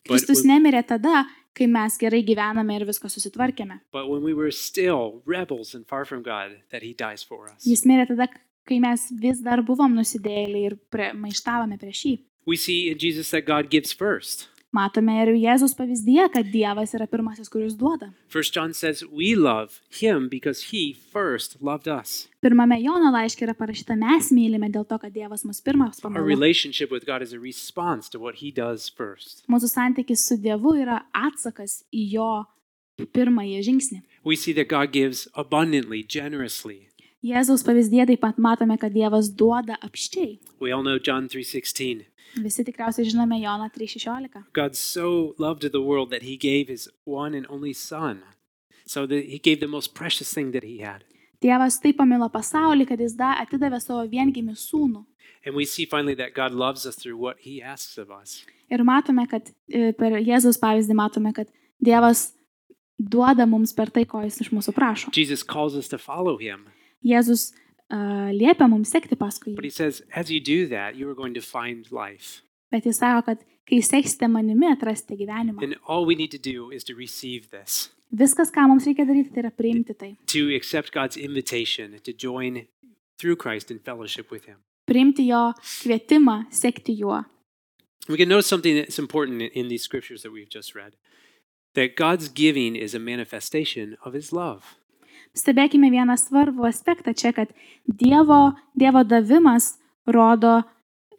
[SPEAKER 2] but
[SPEAKER 3] Kristus
[SPEAKER 2] when,
[SPEAKER 3] nemirė tada, kai mes gerai gyvename ir viską susitvarkėme.
[SPEAKER 2] but when we were still rebels and far from God, that he dies for us.
[SPEAKER 3] Jis mirė tada, kai mes vis dar buvom nusidėjėliai ir pre, maištavome prieš jį.
[SPEAKER 2] We see in Jesus that God gives first.
[SPEAKER 3] Matome ir Jėzus pavyzdyje, kad Dievas yra pirmasis, kuris duoda.
[SPEAKER 2] First John says, "We love him because he first loved us."
[SPEAKER 3] Pirmame Jono laiške yra parašyta, mes mylime dėl to, kad Dievas mus pirmas
[SPEAKER 2] Our
[SPEAKER 3] pamilo.
[SPEAKER 2] relationship with God is a response to what he does first.
[SPEAKER 3] Mūsų santykis su Dievu yra atsakas į jo pirmąjį žingsnį.
[SPEAKER 2] We see that God gives abundantly, generously.
[SPEAKER 3] Jėzaus pavyzdėje taip pat matome, kad Dievas duoda apščiai.
[SPEAKER 2] We all know John 3:16.
[SPEAKER 3] Visi tikriausiai žinome Joną 3.16.
[SPEAKER 2] God so loved the world that he gave his one and only son. So that he gave the most precious thing that he had.
[SPEAKER 3] Dievas taip pamilo pasaulį, kad jis da atidavė savo viengimį sūnų.
[SPEAKER 2] And we see finally that God loves us through what he asks of us.
[SPEAKER 3] Ir matome, kad e, per Jėzaus pavyzdį matome, kad Dievas duoda mums per tai, ko jis iš mūsų prašo.
[SPEAKER 2] Jesus calls us to follow him.
[SPEAKER 3] Jėzus uh, liepia mums sekti paskui
[SPEAKER 2] But
[SPEAKER 3] jį,
[SPEAKER 2] he says, as you do that, you are going to find life.
[SPEAKER 3] bet jis sako, kad kai seksite manimi, atrasite gyvenimą.
[SPEAKER 2] And all we need to do is to receive this,
[SPEAKER 3] Viskas, ką mums reikia daryti, tai yra priimti tai.
[SPEAKER 2] to accept God's invitation to join through Christ in fellowship with him.
[SPEAKER 3] Priimti jo kvietimą, sekti juo.
[SPEAKER 2] We can notice something that's important in- in these scriptures that we've just read that God's giving is a manifestation of his love.
[SPEAKER 3] Stebėkime vieną svarbų aspektą čia, kad Dievo, dievo davimas rodo,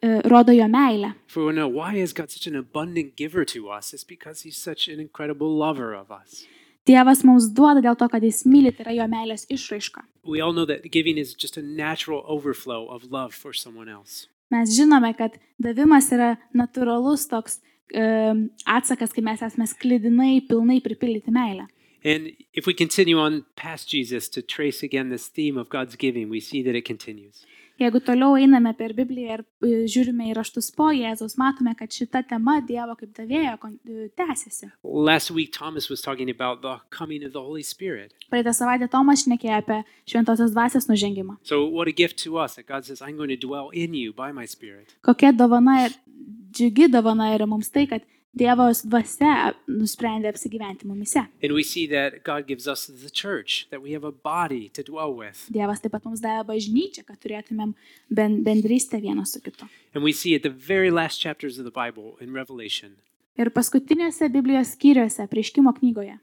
[SPEAKER 3] e, rodo jo meilę.
[SPEAKER 2] If we want to know why is God such an abundant giver to us, it's because he's such an incredible lover of us.
[SPEAKER 3] Dievas mums duoda dėl to, kad jis myli, tai yra jo meilės išraiška.
[SPEAKER 2] We all know that giving is just a natural overflow of love for someone else.
[SPEAKER 3] Mes žinome, kad davimas yra natūralus toks e, atsakas, kai mes esame sklidinai, pilnai pripildyti meilę.
[SPEAKER 2] And if we continue on past Jesus to trace again this theme of God's giving, we see that it continues.
[SPEAKER 3] Jeigu toliau einame per Bibliją ir e, žiūrime į raštus po Jėzaus, matome, kad šita tema Dievo kaip davėjo kon- e, tęsiasi.
[SPEAKER 2] Last week, Thomas was talking about the coming of the Holy Spirit.
[SPEAKER 3] Praeitą savaitę Tomas šnekėjo apie šventosios dvasios nužengimą.
[SPEAKER 2] So, what a gift to us that God says, I'm going to dwell in you by my Spirit.
[SPEAKER 3] Kokia dovana ir džiugi dovana yra mums tai, kad Dievo dvasia nusprendė apsigyventi mumise.
[SPEAKER 2] And we see that God gives us the church, that we have a body to dwell with.
[SPEAKER 3] Dievas taip pat mums davė bažnyčią, kad turėtumėm ben- bendrystę vienas su kitu.
[SPEAKER 2] And we see at the very last chapters of the Bible in Revelation,
[SPEAKER 3] Ir paskutiniuose Biblijos skyriuose, prieškimo knygoje,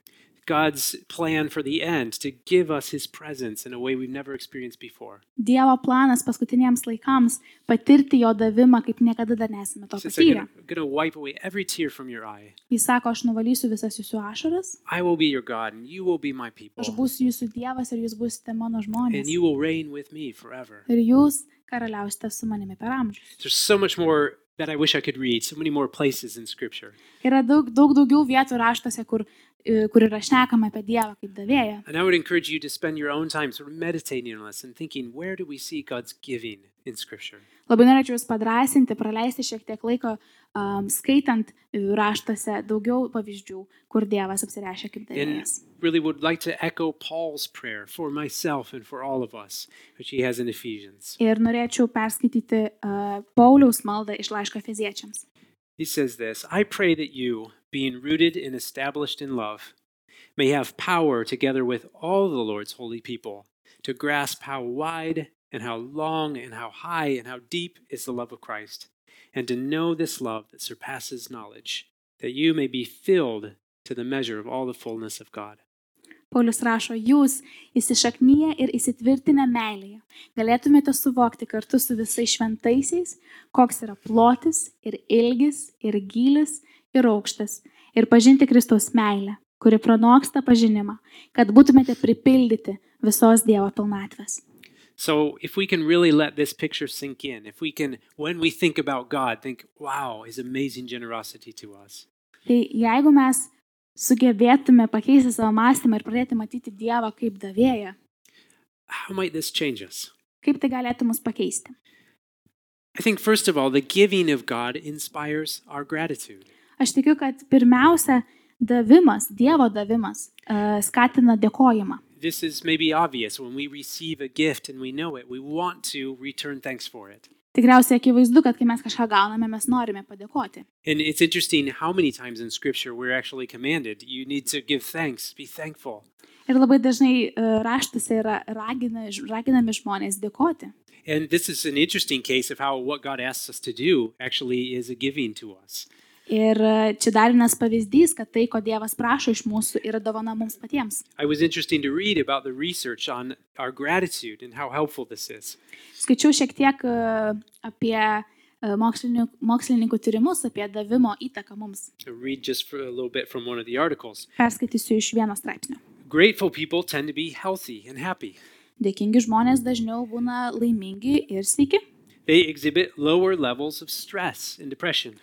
[SPEAKER 2] God's plan for the end to give us his presence in a way we've never experienced before.
[SPEAKER 3] Dievo planas paskutiniams laikams patirti jo davimą, kaip niekada dar nesame to
[SPEAKER 2] He says, I'm
[SPEAKER 3] patyrę.
[SPEAKER 2] going to wipe away every tear from your eye.
[SPEAKER 3] Jis sako, aš nuvalysiu visas jūsų ašaras,
[SPEAKER 2] I will be your God, and you will be my
[SPEAKER 3] aš
[SPEAKER 2] people,
[SPEAKER 3] būsiu jūsų Dievas ir jūs būsite mano
[SPEAKER 2] and
[SPEAKER 3] žmonės.
[SPEAKER 2] you will reign with me forever.
[SPEAKER 3] Ir jūs karaliausite su manimi per amžius.
[SPEAKER 2] There's so much more that I wish I could read, so many more places in Scripture.
[SPEAKER 3] Yra daug, daug daugiau vietų raštuose, kur, e, kur yra šnekama apie Dievą kaip davėją.
[SPEAKER 2] And I would encourage you to spend your own time sort of meditating on this and thinking, where do we see God's giving in Scripture?
[SPEAKER 3] Labai norėčiau Jūs padrasinti, praleisti šiek tiek laiko um, skaitant raštuose daugiau pavyzdžių, kur Dievas apsireiškia kaip
[SPEAKER 2] And
[SPEAKER 3] davėjas.
[SPEAKER 2] really would like to echo Paul's prayer for myself and for all of us, which he has in Ephesians.
[SPEAKER 3] Ir norėčiau perskaityti uh, Pauliaus maldą iš laiško fiziečiams.
[SPEAKER 2] He says this I pray that you, being rooted and established in love, may have power together with all the Lord's holy people to grasp how wide and how long and how high and how deep is the love of Christ, and to know this love that surpasses knowledge, that you may be filled to the measure of all the fullness of God.
[SPEAKER 3] Paulius rašo, jūs įsišaknyje ir įsitvirtinę meilėje galėtumėte suvokti kartu su visais šventaisiais, koks yra plotis ir ilgis ir gilis ir aukštas ir pažinti Kristaus meilę, kuri pranoksta pažinimą, kad būtumėte pripildyti visos Dievo pilnatvės.
[SPEAKER 2] So, if we can really let this picture sink in, if we can, when we think about God, think, wow, his amazing generosity to us.
[SPEAKER 3] Tai jeigu mes sugebėtume pakeisti savo mąstymą ir pradėti matyti Dievą kaip davėją,
[SPEAKER 2] How might this change us?
[SPEAKER 3] kaip tai galėtų mus pakeisti?
[SPEAKER 2] I think, first of all, the giving of God inspires our gratitude.
[SPEAKER 3] Aš tikiu, kad pirmiausia, davimas, Dievo davimas e, skatina dėkojimą.
[SPEAKER 2] This is maybe obvious. When we receive a gift and we know it, we want to return thanks for it.
[SPEAKER 3] Tikriausiai akivaizdu, kad kai mes kažką gauname, mes norime padėkoti.
[SPEAKER 2] And it's interesting how many times in Scripture we're actually commanded you need to give thanks, be thankful.
[SPEAKER 3] Ir labai dažnai e, raštuose yra ragina, ž- raginami žmonės dėkoti.
[SPEAKER 2] And this is an interesting case of how what God asks us to do actually is a giving to us.
[SPEAKER 3] Ir e, čia dar vienas pavyzdys, kad tai, ko Dievas prašo iš mūsų, yra dovana mums patiems.
[SPEAKER 2] I was interesting to read about the research on our gratitude and how helpful this is.
[SPEAKER 3] Skaičiau šiek tiek e, apie e, e, mokslininkų, mokslininkų tyrimus apie davimo įtaką mums.
[SPEAKER 2] I'll read just for a little bit from one of the articles.
[SPEAKER 3] Perskaitysiu iš vieno straipsnio.
[SPEAKER 2] Grateful people tend to be healthy and happy.
[SPEAKER 3] Dėkingi žmonės dažniau būna laimingi ir sveiki.
[SPEAKER 2] They exhibit lower levels of stress and depression.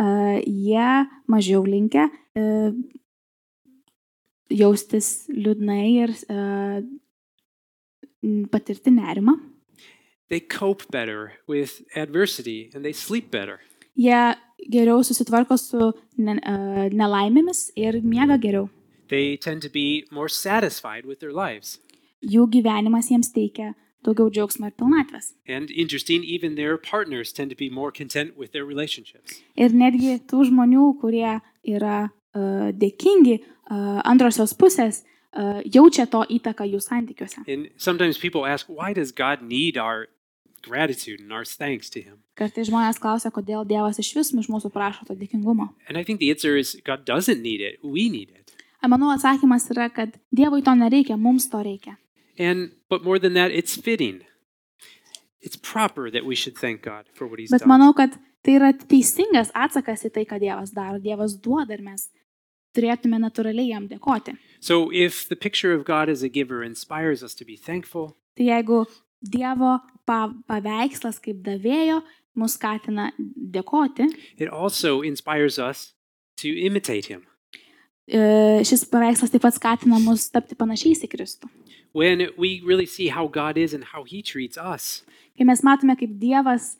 [SPEAKER 3] E, Jie mažiau linkę e, jaustis liūdnai ir e, n- patirti nerimą.
[SPEAKER 2] They cope better with adversity and they sleep better.
[SPEAKER 3] Jie geriau susitvarko su ne, e, nelaimėmis ir miega geriau.
[SPEAKER 2] They tend to be more satisfied with their lives.
[SPEAKER 3] Jų gyvenimas jiems teikia daugiau džiaugsmo ir pilnatvės.
[SPEAKER 2] And interesting, even their partners tend to be more content with their relationships.
[SPEAKER 3] Ir netgi tų žmonių, kurie yra e, dėkingi e, antrosios pusės, e, jaučia to įtaką jų santykiuose.
[SPEAKER 2] And sometimes people ask, why does God need our gratitude and our thanks to Him?
[SPEAKER 3] Kartai žmonės klausia, kodėl Dievas iš vis iš mūsų prašo to dėkingumo.
[SPEAKER 2] And I think the answer is God doesn't need it, we need it.
[SPEAKER 3] A, Manau, atsakymas yra, kad Dievui to nereikia, mums to reikia.
[SPEAKER 2] And but more than that, it's fitting. It's proper that we should thank God for what He's
[SPEAKER 3] Bet
[SPEAKER 2] done.
[SPEAKER 3] manau, kad tai yra teisingas atsakas į tai, ką Dievas daro. Dievas duoda ir mes turėtume natūraliai jam dėkoti.
[SPEAKER 2] So if the picture of God as a giver inspires us to be thankful,
[SPEAKER 3] Tai jeigu Dievo pa- paveikslas kaip davėjo mus skatina dėkoti,
[SPEAKER 2] it also inspires us to imitate Him.
[SPEAKER 3] e, šis paveikslas taip pat skatina mus tapti panašiais į Kristų.
[SPEAKER 2] When we really see how God is and how He treats us,
[SPEAKER 3] Kai mes matome, kaip Dievas,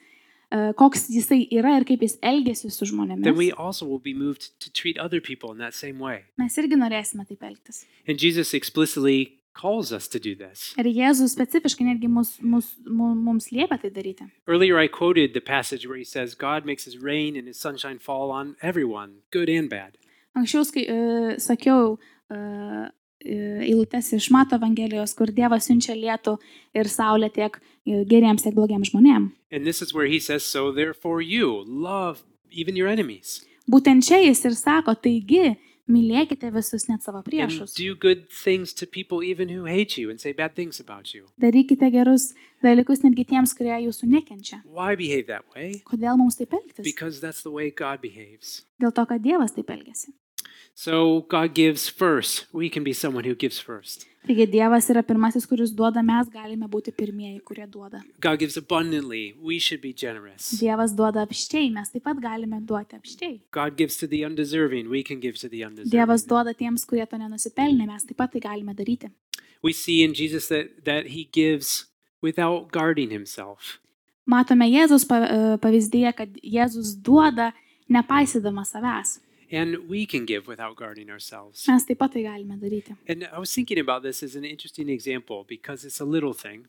[SPEAKER 3] e, koks jisai yra ir kaip jis elgesi su
[SPEAKER 2] then we
[SPEAKER 3] žmonėmis,
[SPEAKER 2] also will be moved to treat other people in that same way.
[SPEAKER 3] mes irgi norėsime taip elgtis.
[SPEAKER 2] And Jesus explicitly calls us to do this.
[SPEAKER 3] Ir Jėzus specifiškai netgi mus, mus, mu- mums liepia tai daryti.
[SPEAKER 2] Earlier, I quoted the passage where He says, God makes His rain and His sunshine fall on everyone, good and bad.
[SPEAKER 3] Anksčiau skai, e, sakiau e, e, eilutes iš Mato Evangelijos, kur Dievas siunčia lietų ir saulę tiek e, geriems, tiek blogiems žmonėms.
[SPEAKER 2] And this is where he says, So therefore, you love even your enemies
[SPEAKER 3] Būtent čia jis ir sako, taigi, mylėkite visus net savo
[SPEAKER 2] and
[SPEAKER 3] priešus.
[SPEAKER 2] do good things to people even who hate you and say bad things about you.
[SPEAKER 3] Darykite gerus dalykus netgi tiems, kurie jūsų nekenčia.
[SPEAKER 2] Why behave that way?
[SPEAKER 3] Kodėl mums taip elgtis?
[SPEAKER 2] Because that's the way God behaves.
[SPEAKER 3] Dėl to, kad Dievas taip elgesi.
[SPEAKER 2] So God gives first. We can be someone who gives first.
[SPEAKER 3] Taigi Dievas yra pirmasis, kuris duoda, mes galime būti pirmieji, kurie duoda.
[SPEAKER 2] God gives abundantly. We should be generous.
[SPEAKER 3] Dievas duoda apščiai, mes taip pat galime duoti apščiai.
[SPEAKER 2] God gives to the undeserving. We can give to the
[SPEAKER 3] Dievas
[SPEAKER 2] undeserving.
[SPEAKER 3] duoda tiems, kurie to nenusipelnė, mes taip pat tai galime daryti.
[SPEAKER 2] We see in Jesus that, that he gives without guarding himself.
[SPEAKER 3] Matome Jėzus pa- e, pavyzdyje, kad Jėzus duoda nepaisydamas savęs.
[SPEAKER 2] And we can give without guarding ourselves.
[SPEAKER 3] Mes taip pat tai galime daryti.
[SPEAKER 2] And I was thinking about this as an interesting example because it's a little thing,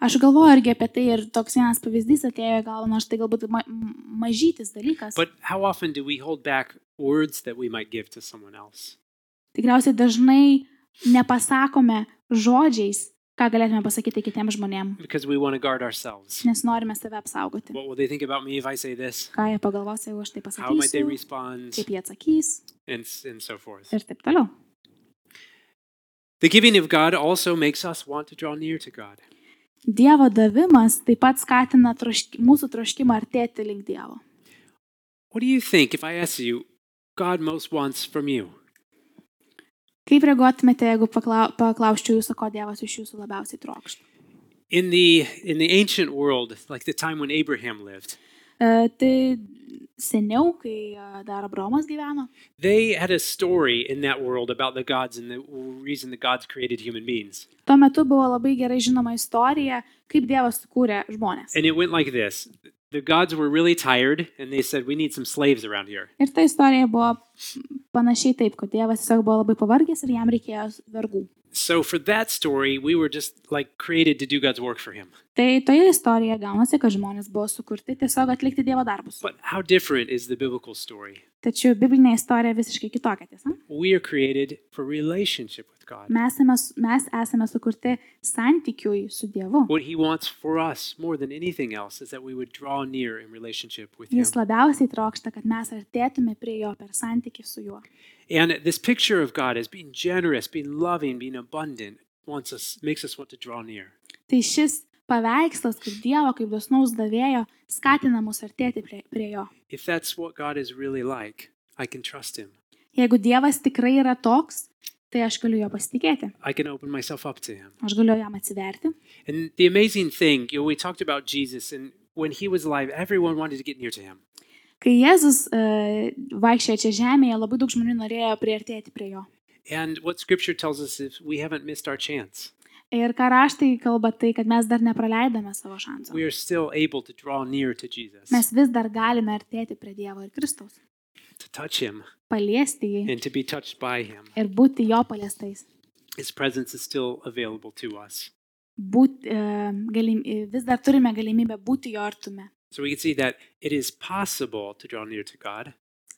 [SPEAKER 3] Aš galvoju irgi apie tai ir toks vienas pavyzdys atėjo į galvą, nors tai galbūt ma m- mažytis dalykas.
[SPEAKER 2] but how often do we hold back words that we might give to someone else?
[SPEAKER 3] Tikriausiai dažnai nepasakome žodžiais, ką galėtume pasakyti kitiems žmonėms,
[SPEAKER 2] Because we want to guard ourselves.
[SPEAKER 3] nes norime save apsaugoti.
[SPEAKER 2] What will they think about me if I say this?
[SPEAKER 3] Ką jie pagalvos, jeigu aš tai
[SPEAKER 2] How might they
[SPEAKER 3] pasakysiu,
[SPEAKER 2] respond?
[SPEAKER 3] kaip jie atsakys
[SPEAKER 2] And, s- and so forth.
[SPEAKER 3] ir taip toliau.
[SPEAKER 2] The giving of God also makes us want to draw near to God.
[SPEAKER 3] Dievo davimas taip pat skatina troški, mūsų troškimą artėti link Dievo.
[SPEAKER 2] What do you think if I ask you, God most wants from you?
[SPEAKER 3] Kaip reaguotumėte, jeigu paklau, paklausčiau jūsų, ko Dievas iš jūsų labiausiai trokšta?
[SPEAKER 2] In the, in the ancient world, like the time when Abraham lived,
[SPEAKER 3] E, tai seniau, kai e, dar Abromas gyveno,
[SPEAKER 2] they had a story in that world about the gods and the reason the gods created human beings.
[SPEAKER 3] tuo metu buvo labai gerai žinoma istorija, kaip Dievas sukūrė žmonės.
[SPEAKER 2] And it went like this The gods were really tired, and they said, We need some slaves around here.
[SPEAKER 3] Ir ta istorija buvo panašiai taip, kad Dievas tiesiog buvo labai pavargęs ir jam reikėjo vergų.
[SPEAKER 2] So, for that story, we were just like created to do God's work for Him.
[SPEAKER 3] Tai toje istorijoje gaunasi, kad žmonės buvo sukurti tiesiog atlikti Dievo darbus.
[SPEAKER 2] But how different is the biblical story?
[SPEAKER 3] Tačiau biblinė istorija visiškai kitokia, tiesa?
[SPEAKER 2] We are created for relationship with God.
[SPEAKER 3] Mes esame, mes esame sukurti santykiui su Dievu.
[SPEAKER 2] What He wants for us more than anything else is that we would draw near in relationship with Him.
[SPEAKER 3] Jis labiausiai trokšta, kad mes artėtume prie jo per santykių su juo.
[SPEAKER 2] And this picture of God as being generous, being loving, being abundant wants us makes us want to draw near.
[SPEAKER 3] Tai šis paveikslas kaip Dievo, kaip dosnaus davėjo, skatina mus artėti prie, prie jo.
[SPEAKER 2] If that's what God is really like, I can trust Him.
[SPEAKER 3] Jeigu Dievas tikrai yra toks, tai aš galiu jo pasitikėti,
[SPEAKER 2] I can open myself up to Him.
[SPEAKER 3] aš galiu jam atsiverti.
[SPEAKER 2] And the amazing thing, you know, we talked about Jesus, and when He was alive, everyone wanted to get near to Him.
[SPEAKER 3] Kai Jėzus uh, vaikščiojo čia žemėje, labai daug žmonių norėjo priartėti prie jo.
[SPEAKER 2] And what Scripture tells us is we haven't missed our chance.
[SPEAKER 3] Ir ką raštai kalba tai, kad mes dar nepraleidome savo šansų.
[SPEAKER 2] We are still able to draw near to Jesus,
[SPEAKER 3] Mes vis dar galime artėti prie Dievo ir Kristaus,
[SPEAKER 2] to touch Him,
[SPEAKER 3] paliesti jį
[SPEAKER 2] and to be touched by Him.
[SPEAKER 3] ir būti jo paliestais.
[SPEAKER 2] His presence is still available to us.
[SPEAKER 3] Būt, e, galim, e, vis dar turime galimybę būti jo artume.
[SPEAKER 2] So we can see that it is possible to draw near to God,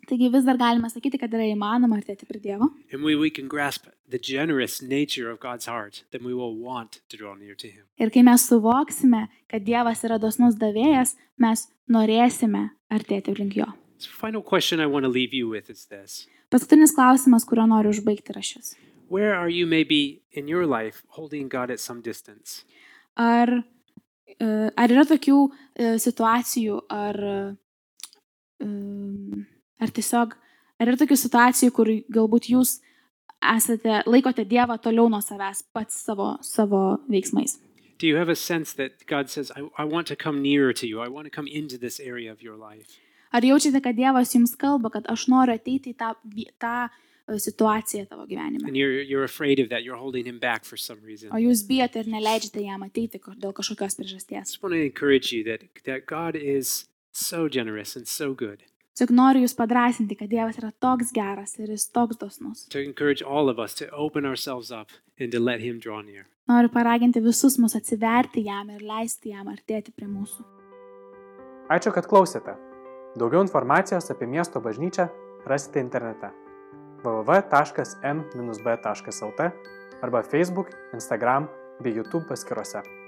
[SPEAKER 3] Taigi vis dar galima sakyti, kad yra įmanoma artėti prie Dievo.
[SPEAKER 2] and we, we can grasp the generous nature of God's heart, then we will want to draw near to Him.
[SPEAKER 3] Ir kai mes suvoksime, kad Dievas yra dosnus davėjas, mes norėsime artėti link jo.
[SPEAKER 2] So final question I want to leave you with is this
[SPEAKER 3] Paskutinis klausimas, kurio noriu užbaigti, yra šis.
[SPEAKER 2] Where are you maybe in your life holding God at some distance?
[SPEAKER 3] Ar, e, ar yra tokių e, situacijų, ar, e, ar tiesiog, ar yra tokių situacijų, kur galbūt jūs esate, laikote Dievą toliau nuo savęs pats savo, savo veiksmais?
[SPEAKER 2] Do you have a sense that God says, I, I want to come nearer to you? I want to come into this area of your life?
[SPEAKER 3] Ar jaučiate, kad Dievas jums kalba, kad aš noriu ateiti į tą, vi- tą e, situaciją tavo gyvenime?
[SPEAKER 2] And you're, you're afraid of that. You're holding Him back for some reason.
[SPEAKER 3] O jūs bijote ir neleidžiate jam ateiti ko- dėl kažkokios priežasties.
[SPEAKER 2] just want to encourage you that, that God is so generous and so good.
[SPEAKER 3] Tik noriu jūs padrasinti, kad Dievas yra toks geras ir jis toks dosnus.
[SPEAKER 2] To encourage all of us to open ourselves up and to let Him draw near.
[SPEAKER 3] Noriu paraginti visus mus atsiverti jam ir leisti jam artėti prie mūsų.
[SPEAKER 1] Ačiū, kad klausėte. Daugiau informacijos apie miesto bažnyčią rasite internete www.m-b.lt arba Facebook, Instagram bei YouTube paskiruose.